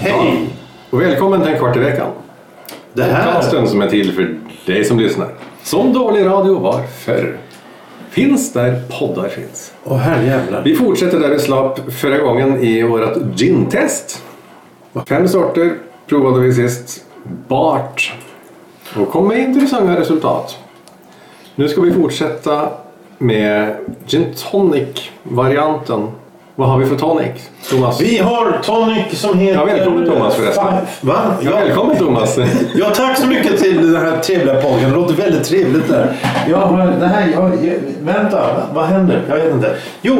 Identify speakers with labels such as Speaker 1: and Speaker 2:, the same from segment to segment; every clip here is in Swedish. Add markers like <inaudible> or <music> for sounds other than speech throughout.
Speaker 1: Hej!
Speaker 2: Och välkommen till en kvart i veckan.
Speaker 1: Det här,
Speaker 2: Podcasten som är till för dig som lyssnar. Som dålig radio var förr. Finns där poddar finns.
Speaker 1: åh herrejävlar.
Speaker 2: Vi fortsätter där vi slapp förra gången i vårt gin-test. Fem sorter provade vi sist. Bart. Och kom med intressanta resultat. Nu ska vi fortsätta med gin tonic-varianten. Vad har vi för tonic, Thomas?
Speaker 1: Vi har tonic som heter...
Speaker 2: Ja, välkommen, Thomas, förresten.
Speaker 1: Fa- Va?
Speaker 2: Ja, välkommen Thomas!
Speaker 1: Ja, tack så mycket till den här trevliga podden. Det låter väldigt trevligt där. Ja, men det här, jag, jag, vänta, vad händer? Jag vet inte. Jo,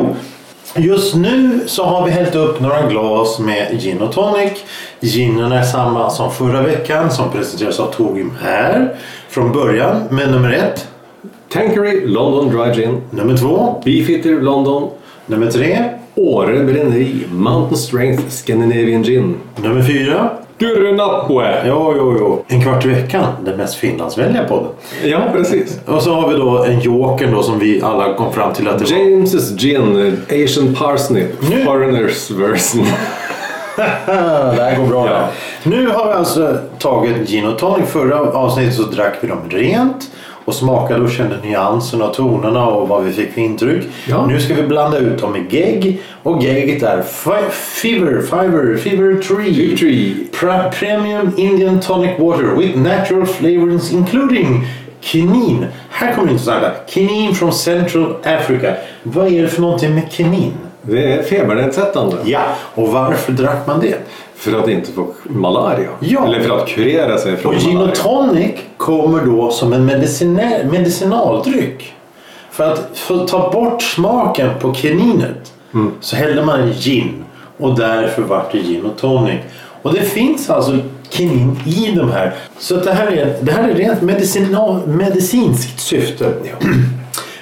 Speaker 1: just nu så har vi hällt upp några glas med gin och tonic. Ginen är samma som förra veckan som presenteras av Torgrim här från början med nummer ett,
Speaker 2: Tankery London Dry Gin.
Speaker 1: nummer två,
Speaker 2: Beefeater London.
Speaker 1: nummer tre,
Speaker 2: Åre Bränneri Mountain Strength Scandinavian Gin.
Speaker 1: nummer fyra,
Speaker 2: Dyrrenapue!
Speaker 1: Jo, jo, jo. En kvart i veckan, den mest finlandsvänliga podden.
Speaker 2: Ja, precis.
Speaker 1: Och så har vi då en joker då som vi alla kom fram till att det var.
Speaker 2: James's Gin, Asian Parsnip,
Speaker 1: Nu-
Speaker 2: Foreigners Version.
Speaker 1: det här går bra.
Speaker 2: Ja.
Speaker 1: Nu har vi alltså tagit gin och tonic. Förra avsnittet så drack vi dem rent och smakade och kände nyanserna och tonerna och vad vi fick för intryck.
Speaker 2: Ja.
Speaker 1: Nu ska vi blanda ut dem i gegg och gegget är fi- Fever, Fiver, Fever Tree.
Speaker 2: Tree.
Speaker 1: Pre- Premium Indian Tonic Water with natural flavorings including kinin. Här kommer det intressanta. Kinin from Central Africa. Vad är det för någonting med kinin?
Speaker 2: Det är febernedsättande.
Speaker 1: Ja, och varför drack man det?
Speaker 2: För att inte få malaria.
Speaker 1: Ja.
Speaker 2: Eller för att kurera sig från
Speaker 1: Och gin
Speaker 2: malaria.
Speaker 1: och tonic kommer då som en medicinär, medicinaldryck. För att få ta bort smaken på kininet så hällde man i gin och därför vart det gin och tonic. Och det finns alltså kinin i de här. Så att det här är, det här är rent medicinal, medicinskt syfte.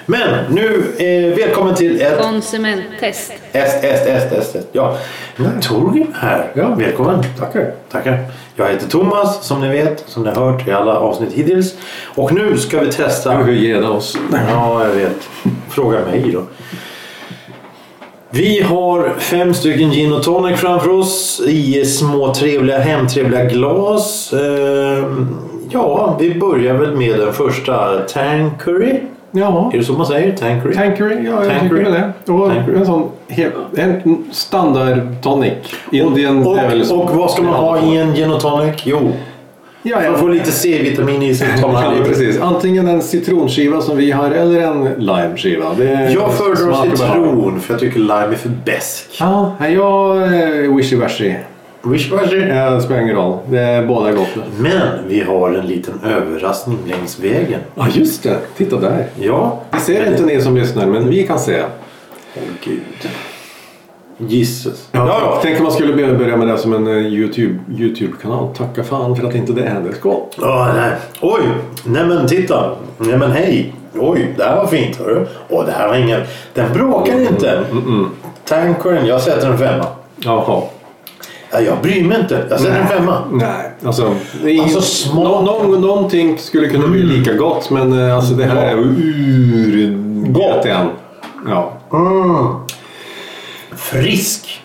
Speaker 1: Men nu, eh, välkommen till ett
Speaker 3: Konsumenttest.
Speaker 1: Est, est, est, est, est. Ja. Torgrim här.
Speaker 2: Ja.
Speaker 1: Välkommen.
Speaker 2: Tackar.
Speaker 1: Tackar. Jag heter Thomas som ni vet, som ni har hört i alla avsnitt hittills. Och nu ska vi testa...
Speaker 2: Hur ger det oss?
Speaker 1: Ja, jag vet. Fråga mig då. Vi har fem stycken gin och tonic framför oss i små trevliga, hemtrevliga glas. Ehm, Ja, vi börjar väl med den första, Tankery.
Speaker 2: Ja.
Speaker 1: Är det så man säger? Tankery?
Speaker 2: Tankery, ja jag
Speaker 1: Tankery.
Speaker 2: tycker väl det. Och
Speaker 1: Tankery.
Speaker 2: en sån helt, en standard tonic. Indian
Speaker 1: Och,
Speaker 2: det är väl så-
Speaker 1: och vad ska man ha i en gin och tonic? Jo,
Speaker 2: Ja,
Speaker 1: man
Speaker 2: ja.
Speaker 1: får lite C-vitamin i sig. tar man
Speaker 2: Ja,
Speaker 1: lite.
Speaker 2: precis. Antingen en citronskiva som vi har eller en limeskiva. Det är
Speaker 1: Jag föredrar
Speaker 2: smak och behag.
Speaker 1: citron för jag tycker lime är för besk.
Speaker 2: Ja, nej, jag eh, är wishy-washy.
Speaker 1: Wish-washy.
Speaker 2: Eh, Det spelar ingen roll. Det är båda gott.
Speaker 1: Men vi har en liten överraskning längs vägen.
Speaker 2: Ja, just det. Titta där.
Speaker 1: Ja.
Speaker 2: Det ser inte ni som lyssnar, men vi kan se.
Speaker 1: Åh gud. Jesus.
Speaker 2: Jag tänkte man skulle börja- börja med det som en eh, YouTube- YouTube-kanal. Tacka fan för att inte det händer. Skål!
Speaker 1: Ja, nej. Oj, nej men titta. Nej men hej. Oj, det här var fint. Hörru. Åh, det här var ingen... Den bråkar inte.
Speaker 2: Mm,
Speaker 1: Tankern, jag sätter en femma.
Speaker 2: Jaha.
Speaker 1: Ja, jag bryr mig inte. Jag sätter en femma.
Speaker 2: Nej, alltså... Det är
Speaker 1: Alltså,
Speaker 2: ingen-
Speaker 1: smak- Mm.
Speaker 2: Nå- någon, någonting skulle kunna bli lika gott, men eh, alltså det här är urgott igen. Ja.
Speaker 1: Frisk.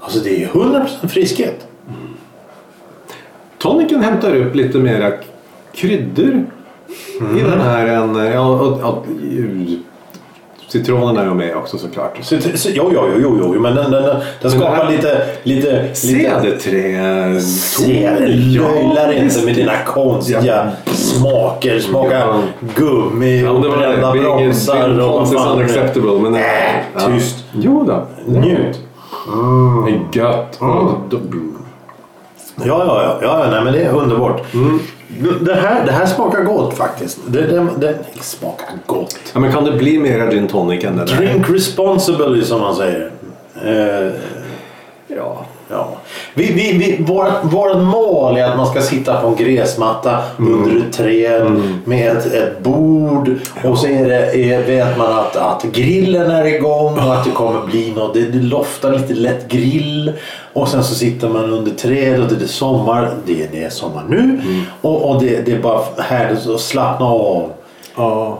Speaker 1: Alltså det är 100% friskhet.
Speaker 2: Toniken hämtar upp lite mera k- kryddor i den här än... Ja, och, och, ju- citronen är ju med också såklart.
Speaker 1: Så, så, jo, jo, jo, jo, jo, men den, den, den, den skapar
Speaker 2: här-
Speaker 1: lite... lite, lite
Speaker 2: Cederträ...
Speaker 1: Se, löjlar inte med dina konstiga smaker. Smaka
Speaker 2: Ja.
Speaker 1: gummi
Speaker 2: Ja,
Speaker 1: och
Speaker 2: det var det.
Speaker 1: brända
Speaker 2: Det är ingen-
Speaker 1: bromsar.
Speaker 2: det är
Speaker 1: och vad
Speaker 2: konstigt
Speaker 1: fan det är.
Speaker 2: unacceptable, men-
Speaker 1: Nej,
Speaker 2: Ja.
Speaker 1: tyst.
Speaker 2: Jo då.
Speaker 1: Njut. Mm.
Speaker 2: Det är gött.
Speaker 1: Ja, ja, ja. ja ja, nej, men det är underbart.
Speaker 2: Mm.
Speaker 1: Det, här, det här smakar gott faktiskt. Det, det, det smakar gott.
Speaker 2: Ja, men kan det bli mera gin tonic än det där?
Speaker 1: Drink responsibly som man säger. Eh,
Speaker 2: Ja.
Speaker 1: Ja. Vi, vi, vi, vårt, vårt mål är att man ska sitta på en gräsmatta
Speaker 2: Mm.
Speaker 1: under ett träd med ett, ett bord och så är det, är, vet man att, att grillen är igång och att det kommer bli något. Det, det loftar lite lätt grill och sen så sitter man under träd och det är sommar. Det, det är sommar nu
Speaker 2: Mm.
Speaker 1: och, och det, det är bara härligt att slappna av.
Speaker 2: Ja.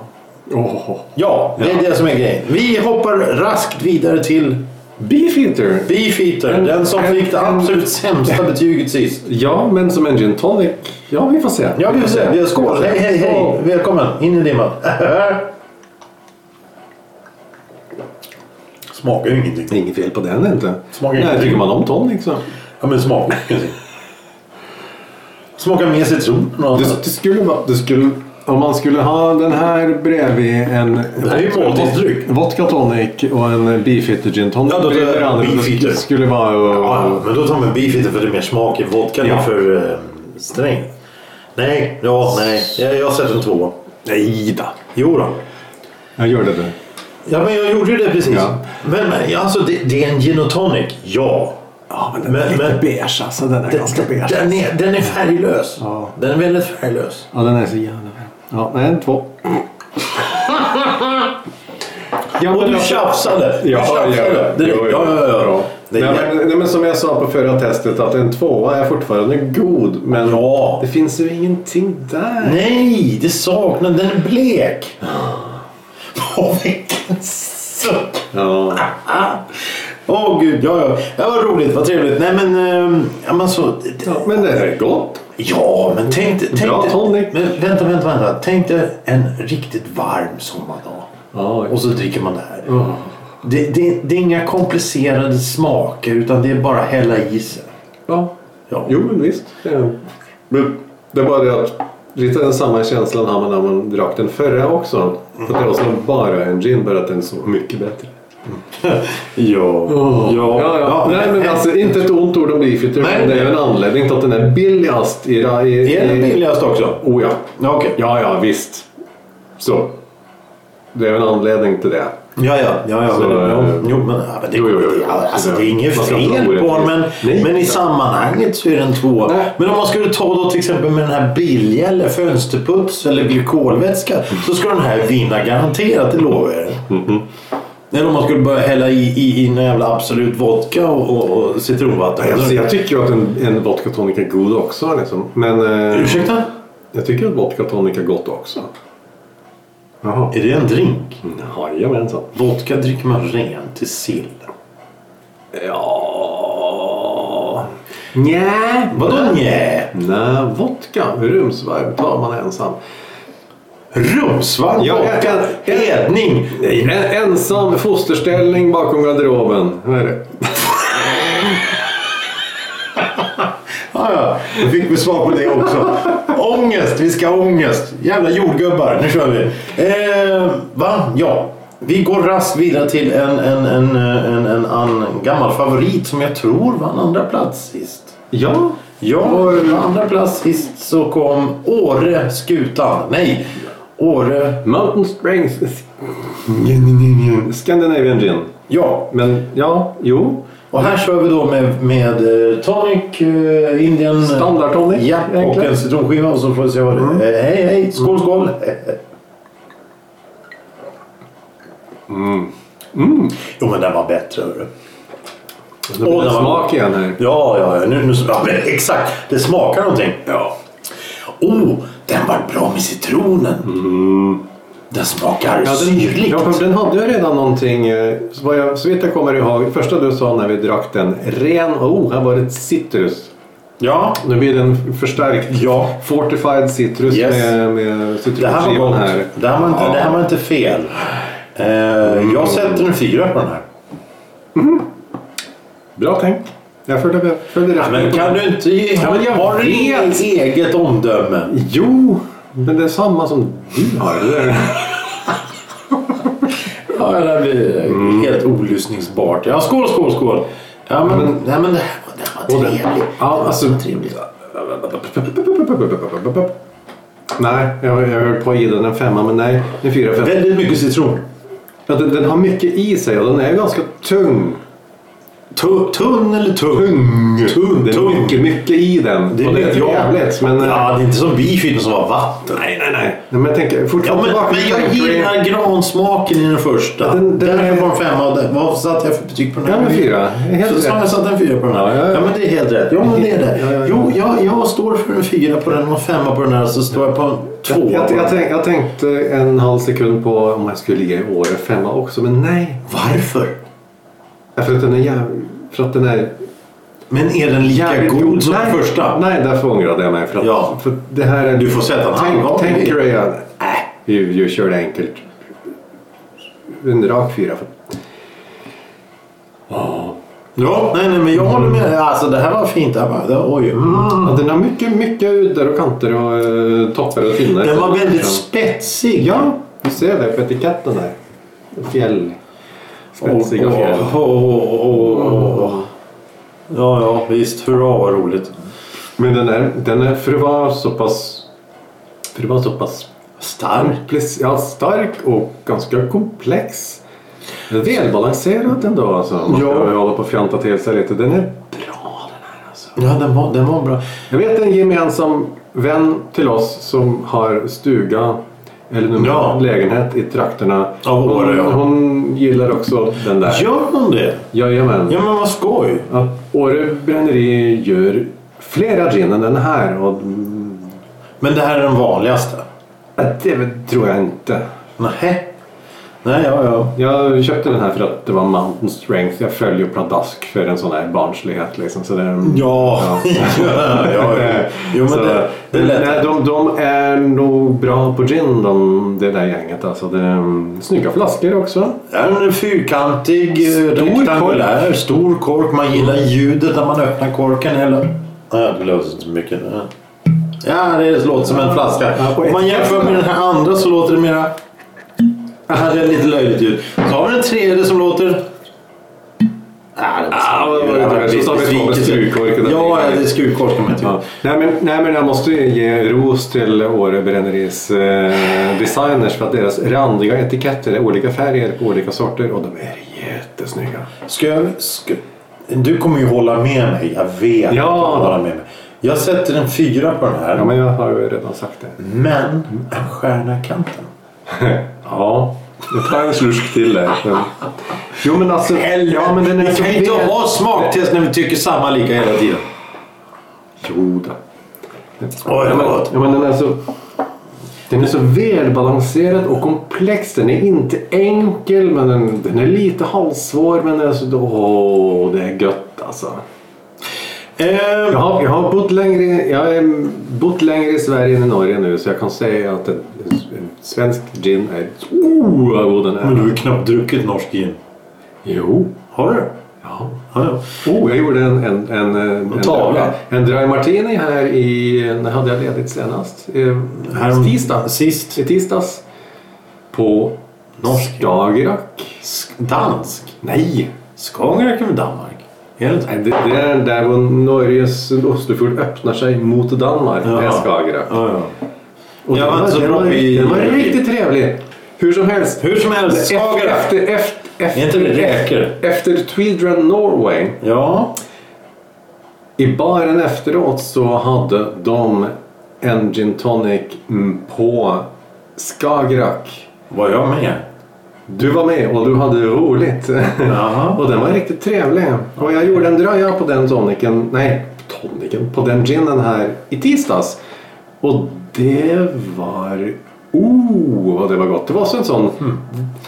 Speaker 2: Åh.
Speaker 1: Ja, det är det som är grejen. Vi hoppar raskt vidare till
Speaker 2: Beefeater.
Speaker 1: Beefeater,
Speaker 2: En-
Speaker 1: den som
Speaker 2: en-
Speaker 1: fick det
Speaker 2: en-
Speaker 1: absolut sämsta betyget sist.
Speaker 2: Ja, men som en gin tonic. Ja, vi får se.
Speaker 1: Ja, vi får se. Vi har skål. Hej, hej, hej.
Speaker 2: Skål.
Speaker 1: Välkommen in i dimman. Smakar ju
Speaker 2: Det
Speaker 1: ingenting.
Speaker 2: är inget fel på den inte.
Speaker 1: Smakar
Speaker 2: Nej,
Speaker 1: ingenting.
Speaker 2: tycker man om tonic så.
Speaker 1: Ja, men smakar ingenting. Smakar mer citron. än något
Speaker 2: Det,
Speaker 1: annat.
Speaker 2: det skulle vara... Det skulle, om man skulle ha den här bredvid en...
Speaker 1: Det här är ju måltidsdryck.
Speaker 2: Vodka tonic och en Beefeater gin tonic.
Speaker 1: Ja, då tar jag
Speaker 2: bredvid varandra.
Speaker 1: Beefeater.
Speaker 2: Det skulle vara...
Speaker 1: Ja, men då tar man beefeater för det är mer smak i vodka
Speaker 2: Ja.
Speaker 1: än för eh, sträng. Nej, ja, nej. Jag, jag sätter en tvåa.
Speaker 2: Nej då.
Speaker 1: Jo då.
Speaker 2: Jag gör det nu.
Speaker 1: Ja, men jag gjorde ju det precis.
Speaker 2: Ja.
Speaker 1: Men, men alltså, det, det är en gin och tonic. Ja.
Speaker 2: Ja, men
Speaker 1: den är lite
Speaker 2: beige alltså. Den är
Speaker 1: Den är, den är färglös.
Speaker 2: Ja.
Speaker 1: Den är väldigt färglös.
Speaker 2: Ja, den är så jävla bra. Ja, nej, en två. ja,
Speaker 1: Och du tjafsade! Du
Speaker 2: Ja, ja,
Speaker 1: tjafsade. Det-
Speaker 2: ja, ja, ja.
Speaker 1: Det-
Speaker 2: Nej, men, nej, men som jag sa på förra testet att en tvåa är fortfarande god. Men
Speaker 1: Ja.
Speaker 2: det finns ju ingenting där.
Speaker 1: Nej, det saknas. Den är blek. Åh, vilken suck!
Speaker 2: Ja.
Speaker 1: Åh gud, ja, ja. ja. Vad roligt, vad trevligt. Nej men, ehm, ja men så...
Speaker 2: ja, men det är gott.
Speaker 1: Ja, men tänk dig- tänk
Speaker 2: Bra
Speaker 1: dig-
Speaker 2: tonic.
Speaker 1: Men vänta, vänta, vänta. Tänk dig en riktigt varm sommardag.
Speaker 2: Ja,
Speaker 1: Och så dricker man det här. Det, det, det är inga komplicerade smaker utan det är bara hälla i sig.
Speaker 2: ja.
Speaker 1: Ja.
Speaker 2: Jo, men visst. Ja. Men det var det att lite den samma känslan har man när man drack den förra också. För det var som bara en gin, bara att den såg mycket bättre.
Speaker 1: Ja. Oh.
Speaker 2: Ja, ja. Nej, men alltså, inte ett ont ord om Beefeater,
Speaker 1: Nej.
Speaker 2: men det är ju en anledning till att den är billigast. I, i, i,
Speaker 1: Är den billigast också?
Speaker 2: Oh ja.
Speaker 1: Ja, okej.
Speaker 2: Ja, ja, visst. Så. Det är ju en anledning till det.
Speaker 1: Ja, ja. ja, ja,
Speaker 2: Så,
Speaker 1: men, ja.
Speaker 2: eh,
Speaker 1: Jo, men, ja, men det,
Speaker 2: jo, jo, jo.
Speaker 1: ja, Alltså, det är
Speaker 2: Man
Speaker 1: inget
Speaker 2: ska inte
Speaker 1: fel
Speaker 2: vara
Speaker 1: på den, men,
Speaker 2: orättvis. Nej.
Speaker 1: men i sammanhanget så är den två.
Speaker 2: Nej.
Speaker 1: Men om man skulle ta då till exempel med den här bilja eller fönsterputs eller glykolvätska så skulle den här vinna garanterat, det lovar jag er.
Speaker 2: Mhm.
Speaker 1: Eller om man skulle börja hälla i, i, i en jävla Absolut vodka och, och, och citronvatten.
Speaker 2: Alltså, jag tycker ju att en, en vodka tonic är god också. Liksom. Men eh,
Speaker 1: Ursäkta?
Speaker 2: jag tycker att vodka tonic är gott också. Jaha.
Speaker 1: Är det en drink?
Speaker 2: Jajamensan.
Speaker 1: Vodka dricker man rent till sill.
Speaker 2: Ja... Nja.
Speaker 1: Vadå nje?
Speaker 2: Nej, vodka. Rumsvarv tar man ensam.
Speaker 1: Rumsvamp?
Speaker 2: Ja, jag kan-
Speaker 1: Hedning?
Speaker 2: Nej, en, ensam fosterställning bakom garderoben. Vad är det?
Speaker 1: Ja, ja. Då fick vi svar på det också. ångest, vi ska ha ångest. Jävla jordgubbar, nu kör vi. Eh, va? Ja. Vi går raskt vidare till en, en, en, eh, en, en, en gammal favorit som jag tror vann andra plats sist.
Speaker 2: Ja.
Speaker 1: Ja, på andra plats sist så kom Åre Skutan. Nej, Åre...
Speaker 2: Mountain Springs Scandinavian gin.
Speaker 1: Ja,
Speaker 2: Men ja, jo.
Speaker 1: och här kör vi då med, med eh, tonic, eh, Indian...
Speaker 2: Standard tonic,
Speaker 1: Ja, och
Speaker 2: egentligen. Mm.
Speaker 1: en citronskiva och så får vi se vad det är. Eh, Hej, hej, skål, skål.
Speaker 2: <laughs> Mm.
Speaker 1: Jo, men den var bättre. hörru.
Speaker 2: Det blir
Speaker 1: Åh,
Speaker 2: en
Speaker 1: den var-
Speaker 2: smak igen här.
Speaker 1: Ja, ja, ja, nu, nu, ja men exakt. Det smakar någonting.
Speaker 2: Ja.
Speaker 1: Oh, den var bra med citronen. Den smakar syrligt.
Speaker 2: Mm. ja, för den hade ju redan någonting, eh, så vad jag, så vitt jag kommer ihåg, första du sa när vi drack den, ren, oh, här var det citrus.
Speaker 1: ja.
Speaker 2: Nu blir den förstärkt.
Speaker 1: Ja.
Speaker 2: Fortified citrus
Speaker 1: Yes.
Speaker 2: med, med
Speaker 1: Det här var
Speaker 2: citronskivan
Speaker 1: gott.
Speaker 2: här.
Speaker 1: Det här var inte,
Speaker 2: Ja.
Speaker 1: det här var inte fel. Eh, Jag sätter en fyra på den här.
Speaker 2: Mm. Bra tänkt. Jag följde, följde rätt.
Speaker 1: Men kan du inte ge...
Speaker 2: Ja, men jag
Speaker 1: har du inget
Speaker 2: vet.
Speaker 1: eget omdöme?
Speaker 2: Jo, men det är samma som du har.
Speaker 1: <laughs>
Speaker 2: eller?
Speaker 1: Ja, det här blir helt olyssningsbart. Ja, skål, skål, skål. Ja, men, nej, men det här var, det här var
Speaker 2: Och den-
Speaker 1: trevligt.
Speaker 2: ja,
Speaker 1: Det var
Speaker 2: alltså-
Speaker 1: trevligt.
Speaker 2: Nej, jag, jag höll på att ge den en femma, men nej, en fyra. Fem.
Speaker 1: Väldigt mycket citron.
Speaker 2: Ja, den, den har mycket i sig och den är ganska tung.
Speaker 1: Tu- Tunn eller tung?
Speaker 2: Tung.
Speaker 1: Tung,
Speaker 2: Det är
Speaker 1: tung.
Speaker 2: mycket, mycket i den.
Speaker 1: Det är
Speaker 2: Och
Speaker 1: mycket
Speaker 2: jävligt. Men,
Speaker 1: Ja, det är inte som beefeatern som var vatten.
Speaker 2: Nej, nej, nej. Nej, Men tänk
Speaker 1: Ja,
Speaker 2: fortfarande
Speaker 1: men,
Speaker 2: tillbaka
Speaker 1: men
Speaker 2: till
Speaker 1: jag
Speaker 2: tanken.
Speaker 1: gillar gransmaken i den första.
Speaker 2: den- den
Speaker 1: Därför
Speaker 2: är-
Speaker 1: var den femma. och där- Vad satte jag för betyg på den
Speaker 2: Ja, men fyra. Helt
Speaker 1: Så, så
Speaker 2: rätt.
Speaker 1: har jag satt en fyra på den här.
Speaker 2: Ja,
Speaker 1: Ja,
Speaker 2: ja, ja.
Speaker 1: men det är helt rätt. Jo, men det är det.
Speaker 2: Ja, ja, ja.
Speaker 1: Jo, jag, jag står för en fyra på den och en femma på den här. Så står jag på en två.
Speaker 2: Jag, jag, tänk, jag tänkte en halv sekund på om jag skulle ligga i Åre femma också, men nej.
Speaker 1: Varför?
Speaker 2: Därför att den är jäv... För att den är
Speaker 1: Men är den lika god som
Speaker 2: nej,
Speaker 1: den första?
Speaker 2: Nej, därför ångrade jag mig. För att,
Speaker 1: Ja.
Speaker 2: för det här är...
Speaker 1: Du får sätta en
Speaker 2: Tänk,
Speaker 1: halv
Speaker 2: tänk er jag... Nej, vi, vi kör det enkelt. En rak fyra. För...
Speaker 1: Ja, nej, nej, men jag håller med. Alltså, det här var fint. Det här var, det, oj. Mm.
Speaker 2: Ja, den har mycket, mycket udder och kanter och eh, toppar och finnar.
Speaker 1: Den var väldigt
Speaker 2: Ja.
Speaker 1: spetsig.
Speaker 2: Ja, du ser det på etiketten där. Fjäll. Spetsiga
Speaker 1: Åh,
Speaker 2: fjäll.
Speaker 1: åh, åh, åh, åh. Ja, ja, visst. Hurra vad roligt.
Speaker 2: Men den är, den är, för att vara så pass... För att vara så pass
Speaker 1: Stark.
Speaker 2: Precis, ja, stark och ganska komplex. Välbalanserad ändå alltså. Om Man
Speaker 1: Ja.
Speaker 2: ska hålla på och fjanta till sig lite. Den är bra den här alltså.
Speaker 1: Ja, den var, den var bra.
Speaker 2: Jag vet en gemensam vän till oss som har stuga eller numera
Speaker 1: Ja.
Speaker 2: lägenhet i trakterna.
Speaker 1: Av Åre,
Speaker 2: hon,
Speaker 1: ja.
Speaker 2: hon gillar också den där.
Speaker 1: Gör de det?
Speaker 2: Jajamän.
Speaker 1: Ja, men vad skoj.
Speaker 2: Ja. Åre bränneri gör flera gin än den här. Och,
Speaker 1: Men det här är den vanligaste.
Speaker 2: Ja, det tror jag inte.
Speaker 1: Nej. Nej, ja, ja.
Speaker 2: Jag köpte den här för att det var Mountain Strength. Jag följer pladask för en sån här barnslighet. Liksom. Så det är,
Speaker 1: Ja, ja, <laughs> ja. ja.
Speaker 2: <laughs>
Speaker 1: Jo, men
Speaker 2: Så-
Speaker 1: det, det är lätt.
Speaker 2: nej, de, de är nog bra på gin, de, det där gänget. Alltså, det är, snygga flaskor också.
Speaker 1: Den är fyrkantig,
Speaker 2: Stor
Speaker 1: stor rektangulär, stor kork. Man gillar ljudet när man öppnar korken. Eller... Nej, det låter inte så mycket. Nej. Ja, det låter som en flaska.
Speaker 2: Ja, på
Speaker 1: Om man
Speaker 2: ett-
Speaker 1: jämför med den här andra så låter det mera... Det här är lite löjligt ljud. Så har vi den tredje som låter... Ja, det
Speaker 2: Ah, vad var det där? Så sa vi att det var med skruvkorken.
Speaker 1: Ja, det är skruvkorken med typ.
Speaker 2: Ja. Nej, men, nej men jag måste ju ge ros till Åre Bränneris eh, designers för att deras randiga etiketter är olika färger på olika sorter och de är jättesnygga.
Speaker 1: Ska jag, ska, du kommer ju hålla med mig. Jag vet
Speaker 2: Ja.
Speaker 1: att du kommer hålla med mig. Jag sätter en fyra på den här.
Speaker 2: Ja men jag har ju redan sagt det. <laughs>
Speaker 1: Men en stjärna i kanten.
Speaker 2: Ja, jag tar en slurk till där. Jo men alltså... Ja, men den är
Speaker 1: vi
Speaker 2: så
Speaker 1: kan inte
Speaker 2: väl-
Speaker 1: ha smaktest när vi tycker samma lika hela tiden.
Speaker 2: Jo då.
Speaker 1: Oj,
Speaker 2: Ja,
Speaker 1: det var
Speaker 2: men,
Speaker 1: gott.
Speaker 2: ja, men den är så... Den är så välbalanserad och komplex. Den är inte enkel men den, den är lite halvsvår men den är så... Åh, det är gött alltså. Jag
Speaker 1: Ehm,
Speaker 2: har, jag har bott, längre, jag har bott längre i Sverige än i Norge nu så jag kan säga att en, en svensk gin är... Oh, vad god den
Speaker 1: men du har
Speaker 2: är!
Speaker 1: ju knappt druckit norsk gin.
Speaker 2: Jo.
Speaker 1: Har du?
Speaker 2: Ja.
Speaker 1: Ja, ja.
Speaker 2: Oh, jag gjorde en, en, en, en, en,
Speaker 1: tavla.
Speaker 2: en dry martini här i... När hade jag ledigt senast? Eh,
Speaker 1: Härom-
Speaker 2: tisdag.
Speaker 1: Sist.
Speaker 2: I tisdags. På
Speaker 1: Norsk.
Speaker 2: Skagerrak.
Speaker 1: Sk- Dansk.
Speaker 2: Nej!
Speaker 1: Skagerrak är väl Danmark? Är det inte?
Speaker 2: Nej, Det, det är där var Norges Oslofjord öppnar sig mot Danmark. Det är
Speaker 1: Jaha.
Speaker 2: Skagerrak.
Speaker 1: Ja, ja. Jag
Speaker 2: Och den
Speaker 1: var inte så
Speaker 2: den
Speaker 1: bra
Speaker 2: var,
Speaker 1: i-
Speaker 2: den var riktigt trevlig. Hur som helst.
Speaker 1: Hur som helst,
Speaker 2: Efter,
Speaker 1: Skagerrak.
Speaker 2: efter, efter, efter,
Speaker 1: Är inte det räkor?
Speaker 2: efter Tweedren Norway
Speaker 1: Ja.
Speaker 2: I baren efteråt så hade de en gin tonic mm, på Skagerrak.
Speaker 1: Var jag med?
Speaker 2: Du var med och du hade roligt.
Speaker 1: Jaha.
Speaker 2: <laughs> och den var riktigt trevlig. Och jag gjorde en dröja på den toniken, nej toniken, på den ginen här i tisdags. Och det var, oh vad det var gott. Det var så en sån,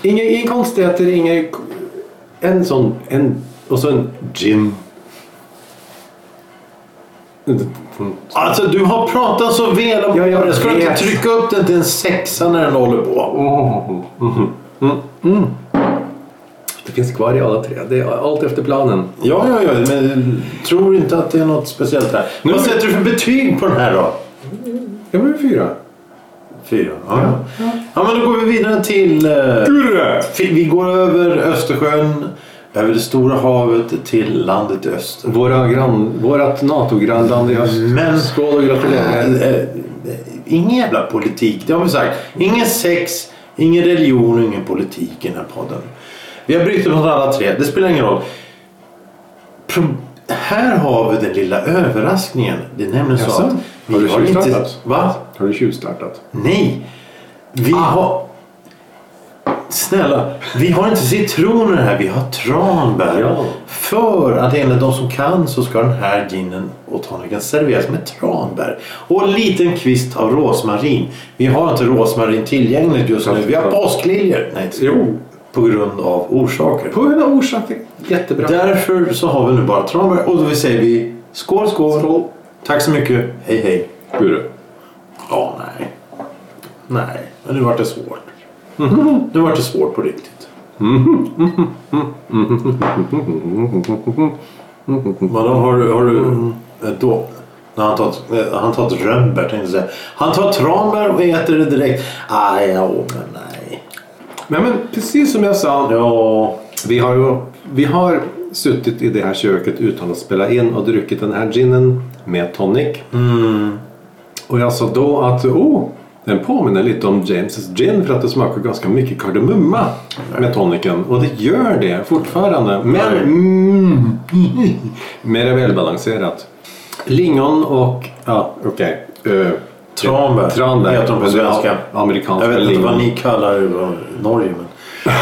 Speaker 2: inga, inga konstigheter, inga, en sån, en, och så en gin.
Speaker 1: Alltså du har pratat så väl om
Speaker 2: Ja, jag
Speaker 1: Ska du inte
Speaker 2: vet.
Speaker 1: trycka upp den till en sexa när den håller på?
Speaker 2: Det finns kvar i alla tre. Det är allt efter planen.
Speaker 1: Ja, ja, ja. Men tror inte att det är något speciellt här.
Speaker 2: Nu-
Speaker 1: Vad sätter du för betyg på den här då?
Speaker 2: Det var ju fyra.
Speaker 1: Fyra. Ja. Ja. men då går vi vidare till... eh,
Speaker 2: Fyra!
Speaker 1: fi- vi går över Östersjön, över det stora havet till landet i öster.
Speaker 2: Våra grann, vårat NATO-grannland i öst.
Speaker 1: Men-
Speaker 2: Skål och gratulerar.
Speaker 1: Eh, eh, Ingen jävla politik, det har vi sagt. Ingen sex, ingen religion och ingen politik i den här podden. Vi har brytt upp oss alla tre, det spelar ingen roll. Pro- Här har vi den lilla överraskningen. Det är nämligen så
Speaker 2: Jaså?
Speaker 1: att
Speaker 2: Har
Speaker 1: vi
Speaker 2: du
Speaker 1: har inte...
Speaker 2: tjuvstartat?
Speaker 1: Va?
Speaker 2: Har du tjuvstartat?
Speaker 1: Nej.
Speaker 2: Ah.
Speaker 1: Vi har... Snälla, vi har inte citroner här, vi har tranbär.
Speaker 2: Ja.
Speaker 1: För att enligt de som kan så ska den här ginen och toniken serveras med tranbär. Och en liten kvist av rosmarin. Vi har inte rosmarin tillgängligt just nu. Vi har påskliljor. Nej, inte-
Speaker 2: Jo.
Speaker 1: På grund av orsaker.
Speaker 2: På grund av orsaken. Jättebra.
Speaker 1: Därför så har vi nu bara tranbär. Och då säger vi skål, skål.
Speaker 2: Skål.
Speaker 1: Tack så mycket. Hej, hej.
Speaker 2: Hur?
Speaker 1: Ja, nej. Nej, men nu vart det svårt. <laughs> Nu vart det svårt på riktigt. <laughs> Vadå, har du... Har du eh, då, när han, tar, eh, han tar ett rönnbär tänkte jag säga. Han tar tranbär och äter det direkt. Aj, ja, men nej.
Speaker 2: Nej men precis som jag sa.
Speaker 1: Ja,
Speaker 2: Vi har, ju, vi har suttit i det här köket utan att spela in och druckit den här ginen med tonic.
Speaker 1: Mm.
Speaker 2: Och jag sa då att oh, den påminner lite om James gin för att det smakar ganska mycket kardemumma med tonicen. Och det gör det fortfarande. Men
Speaker 1: Nej.
Speaker 2: mm, <laughs> mer är välbalanserat. Lingon och... Ja, okej. eh,
Speaker 1: tranbär.
Speaker 2: Tranbär.
Speaker 1: Heter de på svenska.
Speaker 2: Amerikanska
Speaker 1: Jag vet inte vad
Speaker 2: lingon.
Speaker 1: ni kallar det i Norge. Men... <laughs>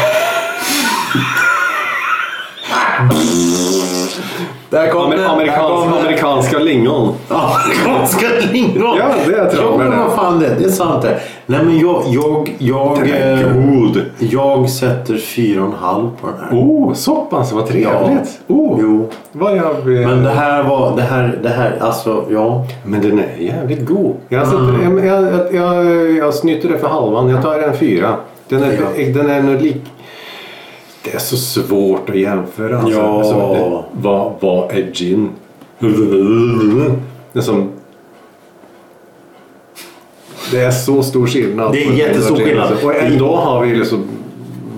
Speaker 1: Där kom
Speaker 2: Amer-
Speaker 1: den, där
Speaker 2: amerikans,
Speaker 1: kom den.
Speaker 2: amerikanska lingon.
Speaker 1: <laughs> Amerikanska lingon!
Speaker 2: Ja, det är
Speaker 1: Jo,
Speaker 2: tranbär
Speaker 1: men
Speaker 2: det.
Speaker 1: vad fan det är. Det är sant det. Nej, men jag... Jag, jag, eh,
Speaker 2: God.
Speaker 1: jag sätter fyra och en halv på den här.
Speaker 2: Oh, så pass, vad trevligt. Oh,
Speaker 1: Jo.
Speaker 2: Vad jag,
Speaker 1: Men
Speaker 2: men,
Speaker 1: det här var... Det här... Det här alltså, ja.
Speaker 2: men den är jävligt god. Jag, sätter,
Speaker 1: Mm.
Speaker 2: jag, jag, jag, jag snyter det för halvan. Jag tar en fyra. Den är,
Speaker 1: Ja.
Speaker 2: den är nog lik... Det är så svårt att jämföra. Alltså.
Speaker 1: Ja.
Speaker 2: Alltså, det- vad, vad är gin? Det är som... Det är så stor skillnad.
Speaker 1: Det är
Speaker 2: på gin och
Speaker 1: jättestor
Speaker 2: gin,
Speaker 1: skillnad.
Speaker 2: alltså. Och ändå har vi liksom...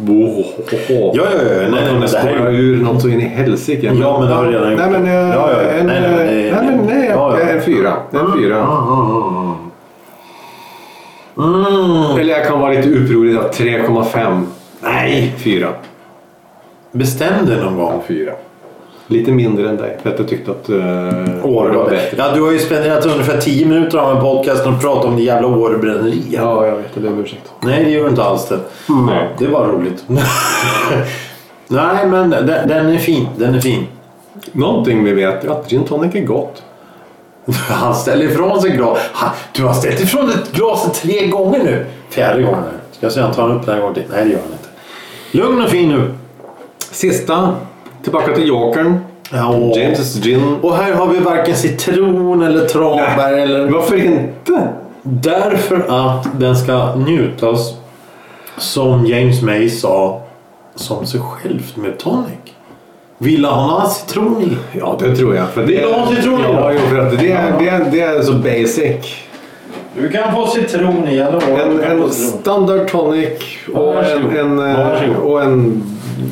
Speaker 2: Oh,
Speaker 1: Ja, ja, ja. Nej,
Speaker 2: Nej,
Speaker 1: nej,
Speaker 2: de
Speaker 1: men det här är
Speaker 2: spårar ur något så in i helsike.
Speaker 1: Ja, men det har vi redan gjort.
Speaker 2: Nej, men, eh,
Speaker 1: Ja, ja.
Speaker 2: En,
Speaker 1: Nej,
Speaker 2: nej,
Speaker 1: nej,
Speaker 2: nej,
Speaker 1: nej,
Speaker 2: nej, men eh, nej,
Speaker 1: Ja, ja.
Speaker 2: en fyra. En fyra.
Speaker 1: Mm.
Speaker 2: Eller jag kan vara lite upprorig. då. 3,5.
Speaker 1: Nej!
Speaker 2: Fyra.
Speaker 1: Bestäm dig någon gång.
Speaker 2: Fyra. Lite mindre än dig. För att jag tyckte att uh,
Speaker 1: Åre var bättre. Ja, du har ju spenderat ungefär 10 minuter av en podcast och pratat om det jävla Årebränneriet.
Speaker 2: Ja, jag vet. Jag ber om ursäkt.
Speaker 1: Nej, det gör inte alls det.
Speaker 2: Nej.
Speaker 1: Det var roligt. <laughs> Nej, men den, den är fin. Den är fin. <laughs>
Speaker 2: Någonting vi vet är att gin tonic är gott.
Speaker 1: Han ställer ifrån sig glas. Han- Du har ställt ifrån dig glaset tre gånger nu. Fjärde gången. nu. Ska jag se om han tar upp den här gången till? Nej, det gör han inte. Lugn och fin nu.
Speaker 2: Sista. Tillbaka till jokern.
Speaker 1: Ja, åh.
Speaker 2: James gin.
Speaker 1: Och här har vi varken citron eller tranbär eller...
Speaker 2: Varför inte?
Speaker 1: Därför att den ska njutas, som James May sa, som sig själv med tonic. Vill han ha citron i?
Speaker 2: Ja, det tror jag. För det,
Speaker 1: Vill du ha citron i då?
Speaker 2: Ja, jo, för att det, är, det, är, det är så basic.
Speaker 1: Du kan få citron i eller
Speaker 2: En, en standard tonic och en, en, eh, och en,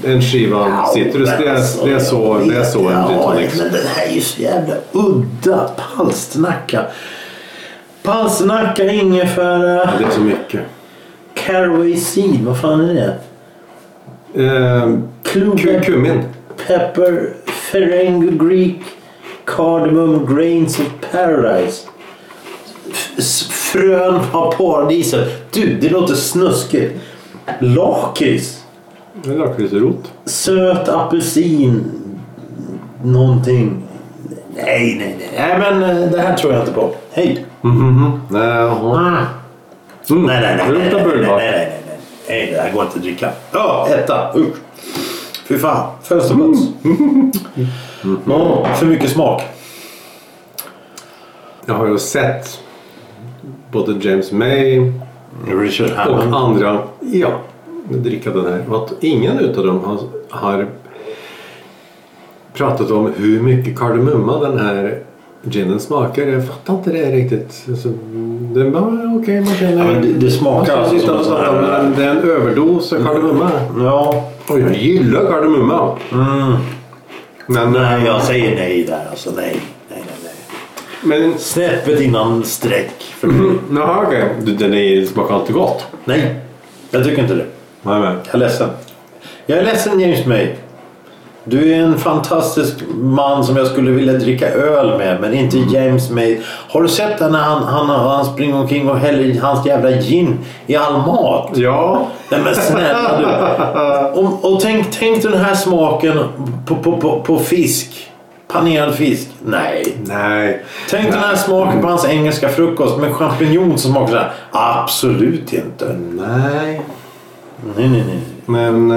Speaker 2: en skiva citrus. Det är, det är så, alltså, det är så en gin
Speaker 1: ja,
Speaker 2: tonic.
Speaker 1: men den här är ju så jävla udda. Palsternacka. Palsternacka, ingefära,
Speaker 2: Ja, Det är så mycket.
Speaker 1: caraway seed. Vad fan är det?
Speaker 2: Eh, ku-
Speaker 1: Klubbe,
Speaker 2: kummin.
Speaker 1: pepper, ferengu greek, cardamom, grains of paradise. F- s- Frön av paradiset. Du, det låter snuskigt. Lakrits.
Speaker 2: Det är Lakritsrot.
Speaker 1: Söt apelsin. Någonting. Nej, nej, nej. Nej, men eh, det här tror jag inte på. Hej.
Speaker 2: Nej, jaha.
Speaker 1: Mm.
Speaker 2: Mm.
Speaker 1: Nej, nej, nej.
Speaker 2: Det
Speaker 1: Nej, nej,
Speaker 2: luktar
Speaker 1: nej,
Speaker 2: bullbak.
Speaker 1: nej, nej, nej. Nej, det här går inte att dricka. Ja, etta. Usch. Fy fan. Mm. Fönsterputs. Ja, för mycket smak.
Speaker 2: Jag har ju sett både James May
Speaker 1: Richard
Speaker 2: och
Speaker 1: Hammond.
Speaker 2: andra ja, dricka den här. Och att ingen utav dem har, har pratat om hur mycket kardemumma den här ginen smakar. Jag fattar inte det riktigt. Alltså, det är bara okej, man känner...
Speaker 1: Ja, men det- det smakar
Speaker 2: man känner
Speaker 1: alltså
Speaker 2: lite
Speaker 1: som Mm.
Speaker 2: av
Speaker 1: en sån
Speaker 2: att
Speaker 1: här-
Speaker 2: det är en överdos av kardemumma.
Speaker 1: Ja.
Speaker 2: Och jag gillar kardemumma. Men,
Speaker 1: Mm. Nej, jag säger nej där alltså. Nej. Nej, nej, nej.
Speaker 2: men <clears throat>
Speaker 1: Snäppet innan streck. För mig.
Speaker 2: jaha, okej. Du, Den är, smakar inte gott.
Speaker 1: Nej, jag tycker inte det.
Speaker 2: Nej, men.
Speaker 1: Jag är ledsen. Jag är ledsen James May. Du är en fantastisk man som jag skulle vilja dricka öl med, men inte James May. Har du sett det när han, han, han springer omkring och häller i hans jävla gin i all mat?
Speaker 2: Ja.
Speaker 1: Nej men snälla du. Och, och tänk, tänk dig den här smaken på, på, på, på fisk. Panerad fisk. Nej.
Speaker 2: Nej.
Speaker 1: Tänk den här smaken på hans engelska frukost med champinjon som smakar så här. Absolut inte.
Speaker 2: Nej.
Speaker 1: Nej, nej, nej.
Speaker 2: Men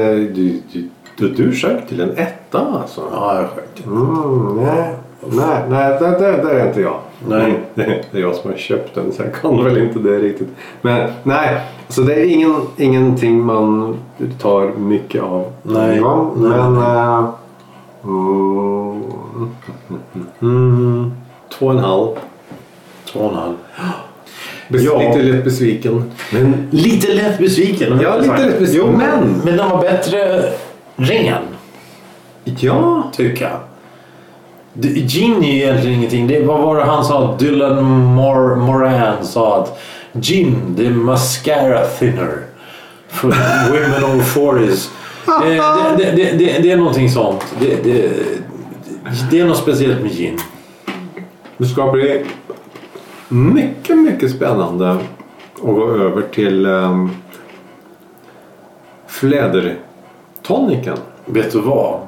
Speaker 2: eh, du, du, du, du sjönk till en etta alltså.
Speaker 1: Ja, jag skämtar.
Speaker 2: Mm, nej. Nej, nej det, det, det är inte jag.
Speaker 1: Nej.
Speaker 2: Mm, Det, det är jag som har köpt den så jag kan väl inte det riktigt. Men nej, så det är ingen, ingenting man tar mycket av.
Speaker 1: Nej,
Speaker 2: Ja,
Speaker 1: nej.
Speaker 2: Men... eh, mm, mm, två och en halv.
Speaker 1: Två och en halv.
Speaker 2: Bes,
Speaker 1: Ja.
Speaker 2: Lite lätt besviken. Men
Speaker 1: Lite lätt besviken.
Speaker 2: Ja, lite lätt besviken.
Speaker 1: Jo, men, men den var bättre ren,
Speaker 2: ja.
Speaker 1: tycker jag. Det- Gin är ju egentligen ingenting. Det, vad var det han sa? Dylan Mor- Moran sa att gin, det är mascara thinner för women over 40s. Eh, Det, det, det, det, det är någonting sånt. Det, det, det är något speciellt med gin.
Speaker 2: Det ska bli mycket, mycket spännande att gå över till um, flädertoniken.
Speaker 1: Vet du vad?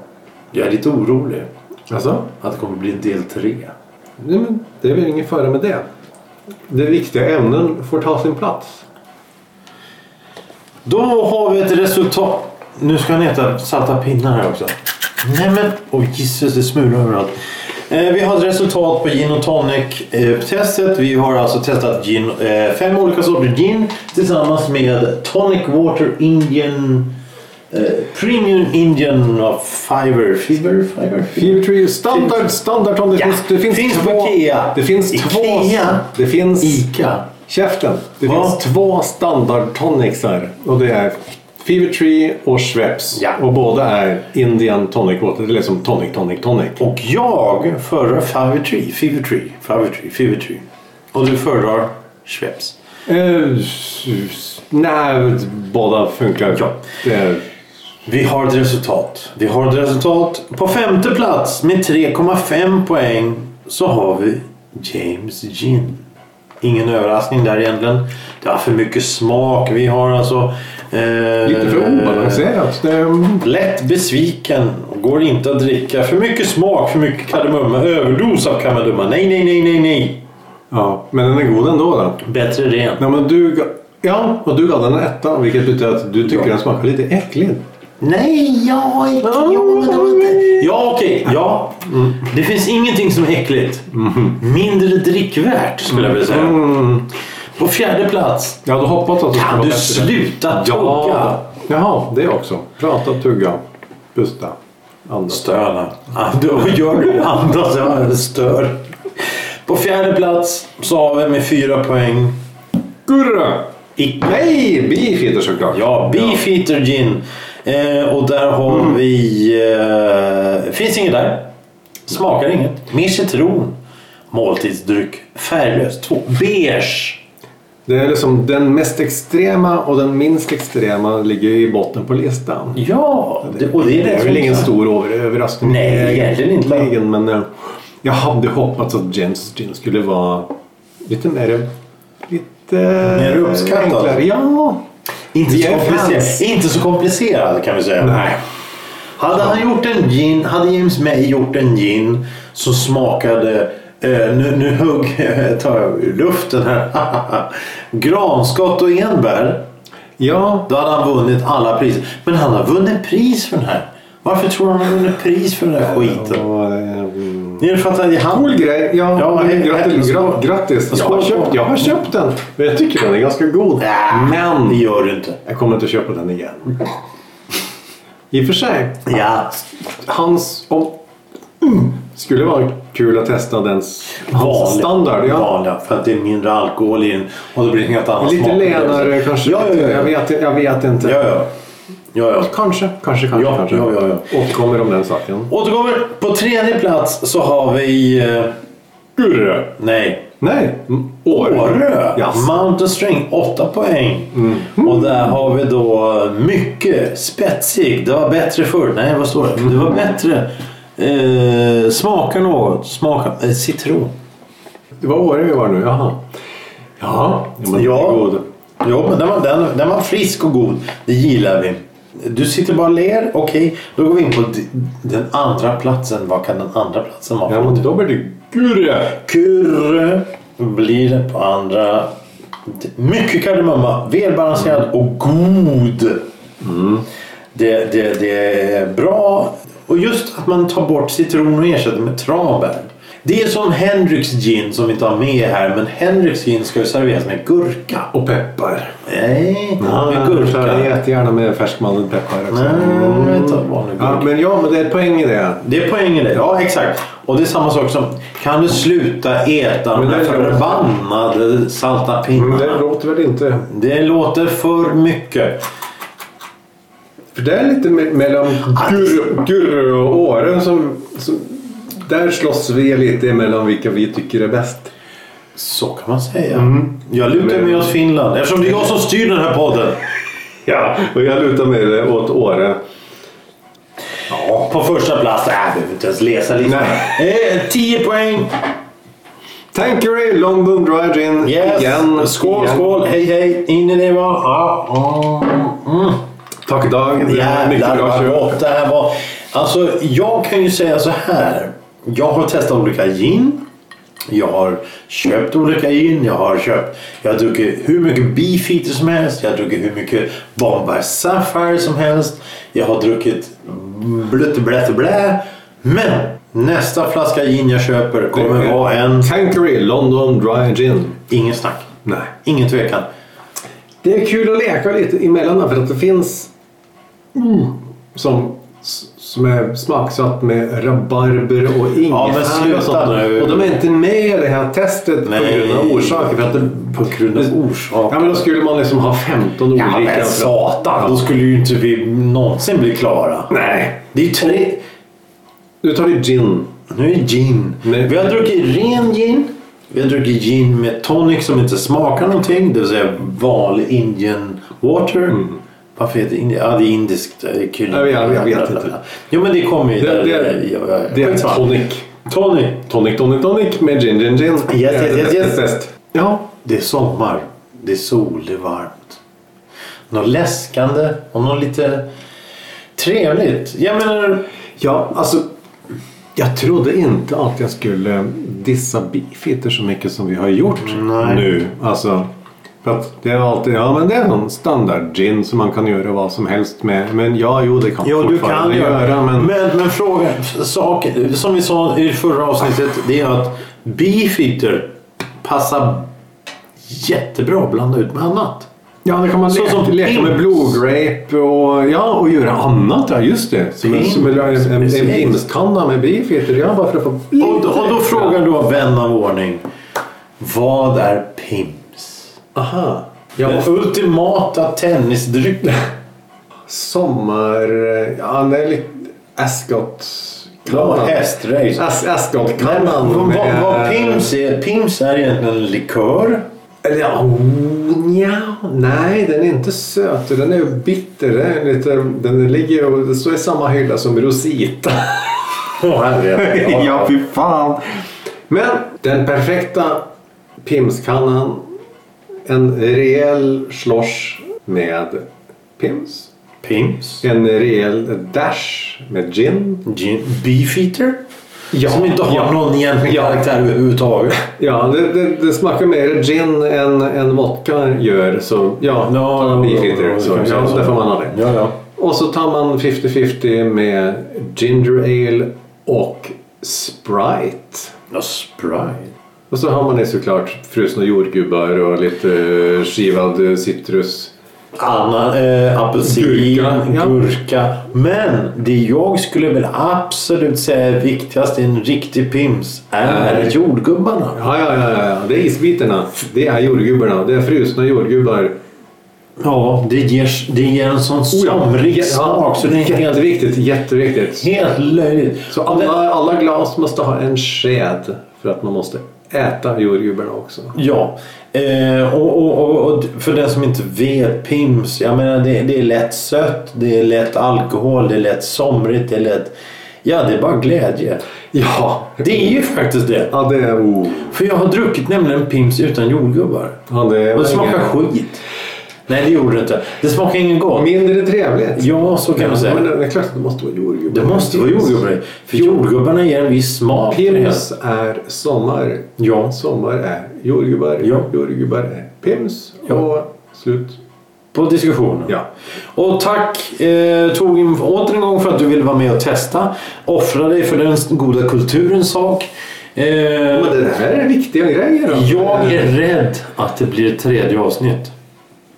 Speaker 1: Jag är lite orolig
Speaker 2: Alltså,
Speaker 1: att det kommer bli del tre.
Speaker 2: nej, men det är väl ingen fara med det. Det viktiga ämnen får ta sin plats.
Speaker 1: Då har vi ett resultat. Nu ska han äta salta pinnar här också. Nej men, oj jisses det smular överallt. Eh, vi har ett resultat på gin och tonic-testet. Vi har alltså testat gin, eh, fem olika sorter gin tillsammans med tonic water Indian eh, Premium Indian of Fiver. Fiver? Fiver?
Speaker 2: Feartree standard, standard om det
Speaker 1: Ja,
Speaker 2: finns, det finns,
Speaker 1: finns på
Speaker 2: två.
Speaker 1: Ikea.
Speaker 2: Det finns två.
Speaker 1: Ikea.
Speaker 2: Det finns
Speaker 1: Ica.
Speaker 2: käften. Det
Speaker 1: Va?
Speaker 2: finns två standard tonicsar och det är Fevertree och Schweppes.
Speaker 1: Ja.
Speaker 2: Och båda är Indian tonic water. Det är liksom tonic, tonic, tonic.
Speaker 1: Och jag föredrar Fiver Tree, Fiver Tree, Fiver Tree, Fiver Tree. Och du föredrar Schweppes.
Speaker 2: Eh, s- s- nej, båda funkar.
Speaker 1: Ja.
Speaker 2: Det är,
Speaker 1: Vi har ett resultat. Vi har ett resultat. På femte plats med 3,5 poäng så har vi James Gin. Ingen överraskning där egentligen. Det har för mycket smak. Vi har alltså... eh,
Speaker 2: lite för obalanserat. Det är,
Speaker 1: Lätt besviken. Går inte att dricka. För mycket smak, för mycket kardemumma. Överdos av kardemumma. Nej, nej, nej, nej, nej.
Speaker 2: ja, men den är god ändå. Då.
Speaker 1: Bättre ren.
Speaker 2: Nej, men du, ga- ja, och du gav den en etta, vilket betyder att du tycker
Speaker 1: Ja.
Speaker 2: den smakar lite äcklig.
Speaker 1: Nej, ja, äcklig. Jo, men det var inte... Mm. Ja, okej. Ja. Det finns ingenting som är äckligt. Mindre drickvärt, skulle jag vilja säga.
Speaker 2: Mm.
Speaker 1: På fjärde plats.
Speaker 2: Jag hade hoppats att det skulle
Speaker 1: Kan
Speaker 2: vara
Speaker 1: du
Speaker 2: bättre.
Speaker 1: sluta tugga?
Speaker 2: Ja. Jaha, det också. Prata, tugga, pusta, andas.
Speaker 1: Stöna. Du vad gör du andas. Jag stör. På fjärde plats så har vi med fyra poäng.
Speaker 2: Gurra!
Speaker 1: Icke.
Speaker 2: Nej, bifeater såklart.
Speaker 1: Ja, Beefeater Gin. Eh, och där har vi... Eh, finns inget där. Smakar inget. Mer citron. Måltidsdryck. Färglös. Två. Beige.
Speaker 2: Det är liksom den mest extrema och den minst extrema ligger i botten på listan.
Speaker 1: Ja, det, och det är
Speaker 2: Det
Speaker 1: rätt
Speaker 2: är väl
Speaker 1: som
Speaker 2: ingen
Speaker 1: sagt.
Speaker 2: stor över- överraskning.
Speaker 1: Nej, egentligen inte.
Speaker 2: Egentligen, Men eh, jag hade hoppats att James Gin skulle vara lite mer... Lite... Mer
Speaker 1: uppskattad.
Speaker 2: Ja.
Speaker 1: Inte
Speaker 2: Vi
Speaker 1: så,
Speaker 2: är fans.
Speaker 1: komplicerad, inte så komplicerad kan vi säga.
Speaker 2: Nej.
Speaker 1: Hade han gjort en gin, hade James May gjort en gin som smakade eh, nu, nu hugg, <laughs> tar jag ur luften här. <laughs> Granskott och enbär.
Speaker 2: Ja.
Speaker 1: Då hade han vunnit alla priser. Men han har vunnit pris för den här. Varför tror han han har vunnit pris för den här skiten?
Speaker 2: Och, eh,
Speaker 1: Ni fattar, det är han...
Speaker 2: Cool grej. Ja,
Speaker 1: Ja,
Speaker 2: men
Speaker 1: hej-
Speaker 2: grattis.
Speaker 1: hej.
Speaker 2: gra- grattis. Jag, har
Speaker 1: Skål.
Speaker 2: köpt, jag har köpt den. Men jag tycker den är ganska god.
Speaker 1: Äh, Det
Speaker 2: Men
Speaker 1: gör du inte.
Speaker 2: jag kommer inte köpa den igen. I och för sig.
Speaker 1: Ja.
Speaker 2: Hans... Om, mm, skulle vara kul att testa den
Speaker 1: Vanliga.
Speaker 2: hans standard. Ja.
Speaker 1: Vanliga, för att det är mindre alkohol i den. Och då blir det en helt annan
Speaker 2: Lite
Speaker 1: smak.
Speaker 2: lenare kanske.
Speaker 1: Ja, ja, ja.
Speaker 2: Jag, vet, jag vet inte.
Speaker 1: Ja, ja. ja, ja.
Speaker 2: Kanske, kanske, kanske.
Speaker 1: Ja,
Speaker 2: kanske.
Speaker 1: ja, ja, ja.
Speaker 2: Återkommer om den saken.
Speaker 1: Återkommer. På tredje plats så har vi... eh,
Speaker 2: Gurre.
Speaker 1: Nej.
Speaker 2: Nej, m- Åre.
Speaker 1: Åre!
Speaker 2: Yes. Mhm.
Speaker 1: Mountain String, 8 poäng. Och där har vi då eh, mycket spetsig. Det var bättre förr. Nej, vad står det? Det var bättre. Eh, smaka något. Smaka eh, citron.
Speaker 2: Det var Åre vi var nu, jaha. Ja, det var
Speaker 1: Ja.
Speaker 2: god.
Speaker 1: Jo, men den var, den, den var frisk och god. Det gillar vi. Du sitter bara och ler. Okej, då går vi in på d- den andra platsen. Vad kan den andra platsen vara?
Speaker 2: Ja, men då blir det gurre.
Speaker 1: Kurre blir det på andra. Mycket kardemumma, välbalanserad
Speaker 2: Mm.
Speaker 1: och god. Det, det, det är bra. Och just att man tar bort citron och ersätter med tranbär. Det är som Henriks gin som vi inte har med här. Men Henriks gin ska ju serveras med gurka.
Speaker 2: Och peppar.
Speaker 1: Nej, med
Speaker 2: kör
Speaker 1: gurka.
Speaker 2: det
Speaker 1: Nej,
Speaker 2: jättegärna med färskmallen peppar också.
Speaker 1: Mm. vänta, vanlig gurka.
Speaker 2: Mm. Ja, men ja, men det är ett poäng i det.
Speaker 1: Det är poängen det. Ja, exakt. Och det är samma sak som kan du sluta äta de
Speaker 2: Men
Speaker 1: där
Speaker 2: det-
Speaker 1: förbannade salta pinnarna?
Speaker 2: Men det låter väl inte...
Speaker 1: Det låter för mycket.
Speaker 2: För det är lite me- mellan Gurre Gurre och Åre som, som... Där slåss vi lite mellan vilka vi tycker är bäst.
Speaker 1: Så kan man säga.
Speaker 2: Mm.
Speaker 1: Jag lutar mig åt Finland eftersom det är jag som styr den här podden.
Speaker 2: Ja, och jag lutar mig åt Åre.
Speaker 1: Ja, på första plats. Äh, jag behöver inte ens läsa listan. Eh, 10 poäng.
Speaker 2: Tanqueray London Dry Gin
Speaker 1: Yes.
Speaker 2: igen.
Speaker 1: skål,
Speaker 2: igen.
Speaker 1: skål. Hej, hej. In i det va. Ja, ja. Mm.
Speaker 2: Tack Dag. Det är mycket
Speaker 1: Jävlar
Speaker 2: bra
Speaker 1: vad
Speaker 2: kör.
Speaker 1: gott det här var. Alltså, jag kan ju säga så här. Jag har testat olika gin. Jag har köpt olika gin. Jag har köpt... Jag har druckit hur mycket Beefeater som helst. Jag har druckit hur mycket Bombay Sapphire som helst. Jag har druckit blött, blött, blä. Men nästa flaska gin jag köper
Speaker 2: Det
Speaker 1: kommer
Speaker 2: är-
Speaker 1: vara en...
Speaker 2: Tanqueray London Dry Gin.
Speaker 1: Ingen snack.
Speaker 2: Nej.
Speaker 1: Ingen tvekan.
Speaker 2: Det är kul att leka lite emellan för att det finns mm, som, som är smaksatt med rabarber och ingefära
Speaker 1: Ja, men sluta
Speaker 2: och sånt.
Speaker 1: nu.
Speaker 2: Och de är inte med i det här testet
Speaker 1: Nej.
Speaker 2: på grund av orsaker. För att det,
Speaker 1: På grund av orsaker.
Speaker 2: Ja, men då skulle man liksom ha 15
Speaker 1: Ja,
Speaker 2: olika.
Speaker 1: men satan. Då skulle ju inte vi någonsin bli klara.
Speaker 2: Nej.
Speaker 1: Det är ju tre...
Speaker 2: Nu tar vi gin.
Speaker 1: Nu är det gin.
Speaker 2: Nej.
Speaker 1: Vi har druckit ren gin. Vi har druckit gin med tonic som inte smakar någonting. Det vill säga vanlig Indian water. Varför heter det Indien? Ja, det är indiskt. Det är kul.
Speaker 2: Mm. Jag vet- jag vet inte.
Speaker 1: Jo, men det kommer ju
Speaker 2: Det-
Speaker 1: där.
Speaker 2: det-
Speaker 1: där- ja, ja.
Speaker 2: det är
Speaker 1: Skitsamma.
Speaker 2: tonic.
Speaker 1: Tonic.
Speaker 2: Tonic, tonic, tonic med gin, gin, gin.
Speaker 1: yes, yes, yes.
Speaker 2: Test. Ja.
Speaker 1: Det är sommar. Det är sol. Det är varmt. Något läskande och något lite trevligt. Jag menar...
Speaker 2: Ja, alltså. Jag trodde inte att jag skulle dissa Beefeater så mycket som vi har gjort
Speaker 1: Nej.
Speaker 2: nu. Alltså, för att det är alltid, ja men det är någon standard gin som man kan göra vad som helst med. Men ja, jo det kan
Speaker 1: Ja, du kan
Speaker 2: fortfarande
Speaker 1: göra.
Speaker 2: men,
Speaker 1: men, men fråga, saker, som vi sa i det förra avsnittet, det är att Beefeater passar jättebra att blanda ut med annat.
Speaker 2: Ja, det kan man
Speaker 1: Så
Speaker 2: leka,
Speaker 1: som
Speaker 2: leka med
Speaker 1: pimps.
Speaker 2: blue-grape och, ja, och göra annat. Ja, just det. Som en,
Speaker 1: Pimps,
Speaker 2: som en, en, en
Speaker 1: precis.
Speaker 2: pimpstanna med Beefeater. Ja, bara för att få lite
Speaker 1: Och, och då
Speaker 2: extra.
Speaker 1: frågar då vän av ordning, vad är PIMS?
Speaker 2: Aha. Ja,
Speaker 1: Den ultimata tennisdrycken.
Speaker 2: Sommar... Ja, det är lite Ascot...
Speaker 1: Ja, hästrace.
Speaker 2: As
Speaker 1: Men
Speaker 2: Ascot-kannan.
Speaker 1: vad, vad, vad
Speaker 2: med-
Speaker 1: PIMS är? PIMS är egentligen en likör.
Speaker 2: Eller ja, oh, nja. Nej, den är inte söt. Den är ju bitter. Den, är lite, den ligger och det står i samma hylla som Rosita.
Speaker 1: Åh, <laughs> herregud.
Speaker 2: fy fan. Men den perfekta Pimskannan. En rejäl slosh med Pims.
Speaker 1: PIMS.
Speaker 2: En rejäl dash med gin.
Speaker 1: Gin- Beefeater.
Speaker 2: Ja,
Speaker 1: Som inte har
Speaker 2: ja.
Speaker 1: någon egentlig
Speaker 2: Ja.
Speaker 1: karaktär överhuvudtaget.
Speaker 2: Ja, det, det, det smakar mer gin än, än vodka gör. Så ja, ta en Beefeater. Så, ja, där får man ha det.
Speaker 1: Ja, ja.
Speaker 2: Och så tar man 50-50 med ginger ale och Sprite.
Speaker 1: ja Sprite.
Speaker 2: Och så har man det såklart frusna jordgubbar och lite eh, skivad eh, citrus.
Speaker 1: Anna, eh, apelsin,
Speaker 2: Gurka,
Speaker 1: gurka,
Speaker 2: ja.
Speaker 1: Men det jag skulle väl absolut säga är viktigast i en riktig pims är
Speaker 2: Nej.
Speaker 1: jordgubbarna.
Speaker 2: Ja, ja, ja, ja, ja. Det är isbitarna. Det är jordgubbarna. Det är frusna jordgubbar.
Speaker 1: Ja, det ger, det ger en sån
Speaker 2: Oh
Speaker 1: somrig smak så det är helt,
Speaker 2: jätteviktigt. Jätteviktigt.
Speaker 1: helt löjligt.
Speaker 2: Så alla, alla glas måste ha en sked för att man måste äta jordgubbarna också.
Speaker 1: Ja, eh, och, och, och, och för den som inte vet Pims, jag menar det, det är lätt sött, det är lätt alkohol, det är lätt somrigt, det är lätt... Ja, det är bara glädje.
Speaker 2: Ja,
Speaker 1: Det är ju faktiskt det.
Speaker 2: ja det är... Oh.
Speaker 1: För jag har druckit nämligen Pims utan jordgubbar.
Speaker 2: Ja, det är
Speaker 1: Och det smakar skit. Nej, det gjorde det inte. Det smakar ingen gott.
Speaker 2: Mindre trevligt.
Speaker 1: Ja, så kan man
Speaker 2: Ja, Men
Speaker 1: säga.
Speaker 2: det det är klart att det måste vara jordgubbar.
Speaker 1: Det måste vara jordgubbar i. För jordgubbarna ger en viss smak. till det hela.
Speaker 2: Pims är sommar.
Speaker 1: Ja.
Speaker 2: Sommar är jordgubbar.
Speaker 1: Ja.
Speaker 2: Jordgubbar är pims.
Speaker 1: Ja.
Speaker 2: Och slut.
Speaker 1: På diskussionen.
Speaker 2: Ja.
Speaker 1: Och tack eh, Torgrim åter en gång för att du ville vara med och testa. Offra dig för den goda kulturens sak. Eh,
Speaker 2: Men det här är viktiga grejer. då.
Speaker 1: jag är rädd att det blir ett tredje avsnitt.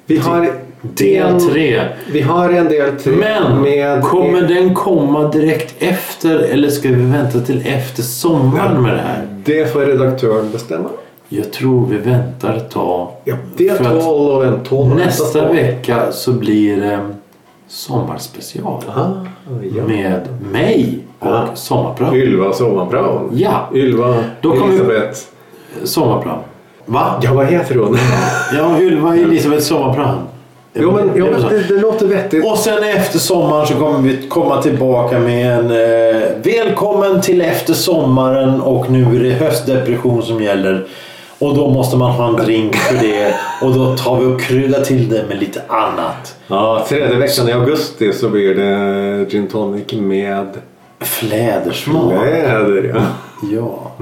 Speaker 2: Vi har
Speaker 1: Del tre.
Speaker 2: Vi har en del tre.
Speaker 1: Men
Speaker 2: med
Speaker 1: kommer den komma direkt efter eller ska vi vänta till efter sommaren med det här?
Speaker 2: Det får redaktören bestämma.
Speaker 1: Jag tror vi väntar ett tag.
Speaker 2: Ja, det är
Speaker 1: För att-
Speaker 2: tal och en ton.
Speaker 1: Nästa vecka så blir det sommarspecial.
Speaker 2: Ah, ja.
Speaker 1: Med mig och
Speaker 2: Ja.
Speaker 1: sommarprat.
Speaker 2: Ylva Sommarprao.
Speaker 1: Ja.
Speaker 2: Ylva
Speaker 1: Då kommer-
Speaker 2: Elisabeth.
Speaker 1: Sommarplan. Va?
Speaker 2: Ja, vad heter hon?
Speaker 1: Ja, Ylva Elisabeth Sommarplan.
Speaker 2: <laughs> jo, men, jo, men det, det låter vettigt.
Speaker 1: Och sen efter sommaren så kommer vi komma tillbaka med en eh, välkommen till efter sommaren och nu är det höstdepression som gäller. Och då måste man ha en drink för det och då tar vi och kryddar till det med lite annat.
Speaker 2: Ja, tredje veckan i augusti så blir det gin tonic med
Speaker 1: Flädersmak.
Speaker 2: läder. Ja.
Speaker 1: Ja.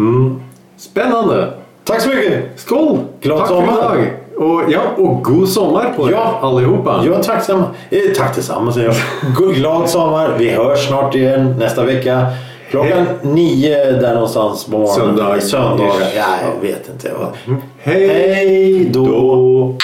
Speaker 2: Spännande!
Speaker 1: Tack så mycket!
Speaker 2: Skål!
Speaker 1: Glad
Speaker 2: Tack
Speaker 1: sommar.
Speaker 2: för idag! Och, ja, och god sommar på
Speaker 1: Ja.
Speaker 2: er allihopa!
Speaker 1: Ja, tack, samma, eh, tack detsamma säger jag. God- Glad sommar. Vi hörs snart igen nästa vecka. Klockan nio där någonstans på morgonen.
Speaker 2: Söndag.
Speaker 1: Söndag. Ja, jag vet inte.
Speaker 2: Hej
Speaker 1: Hej då.
Speaker 2: då!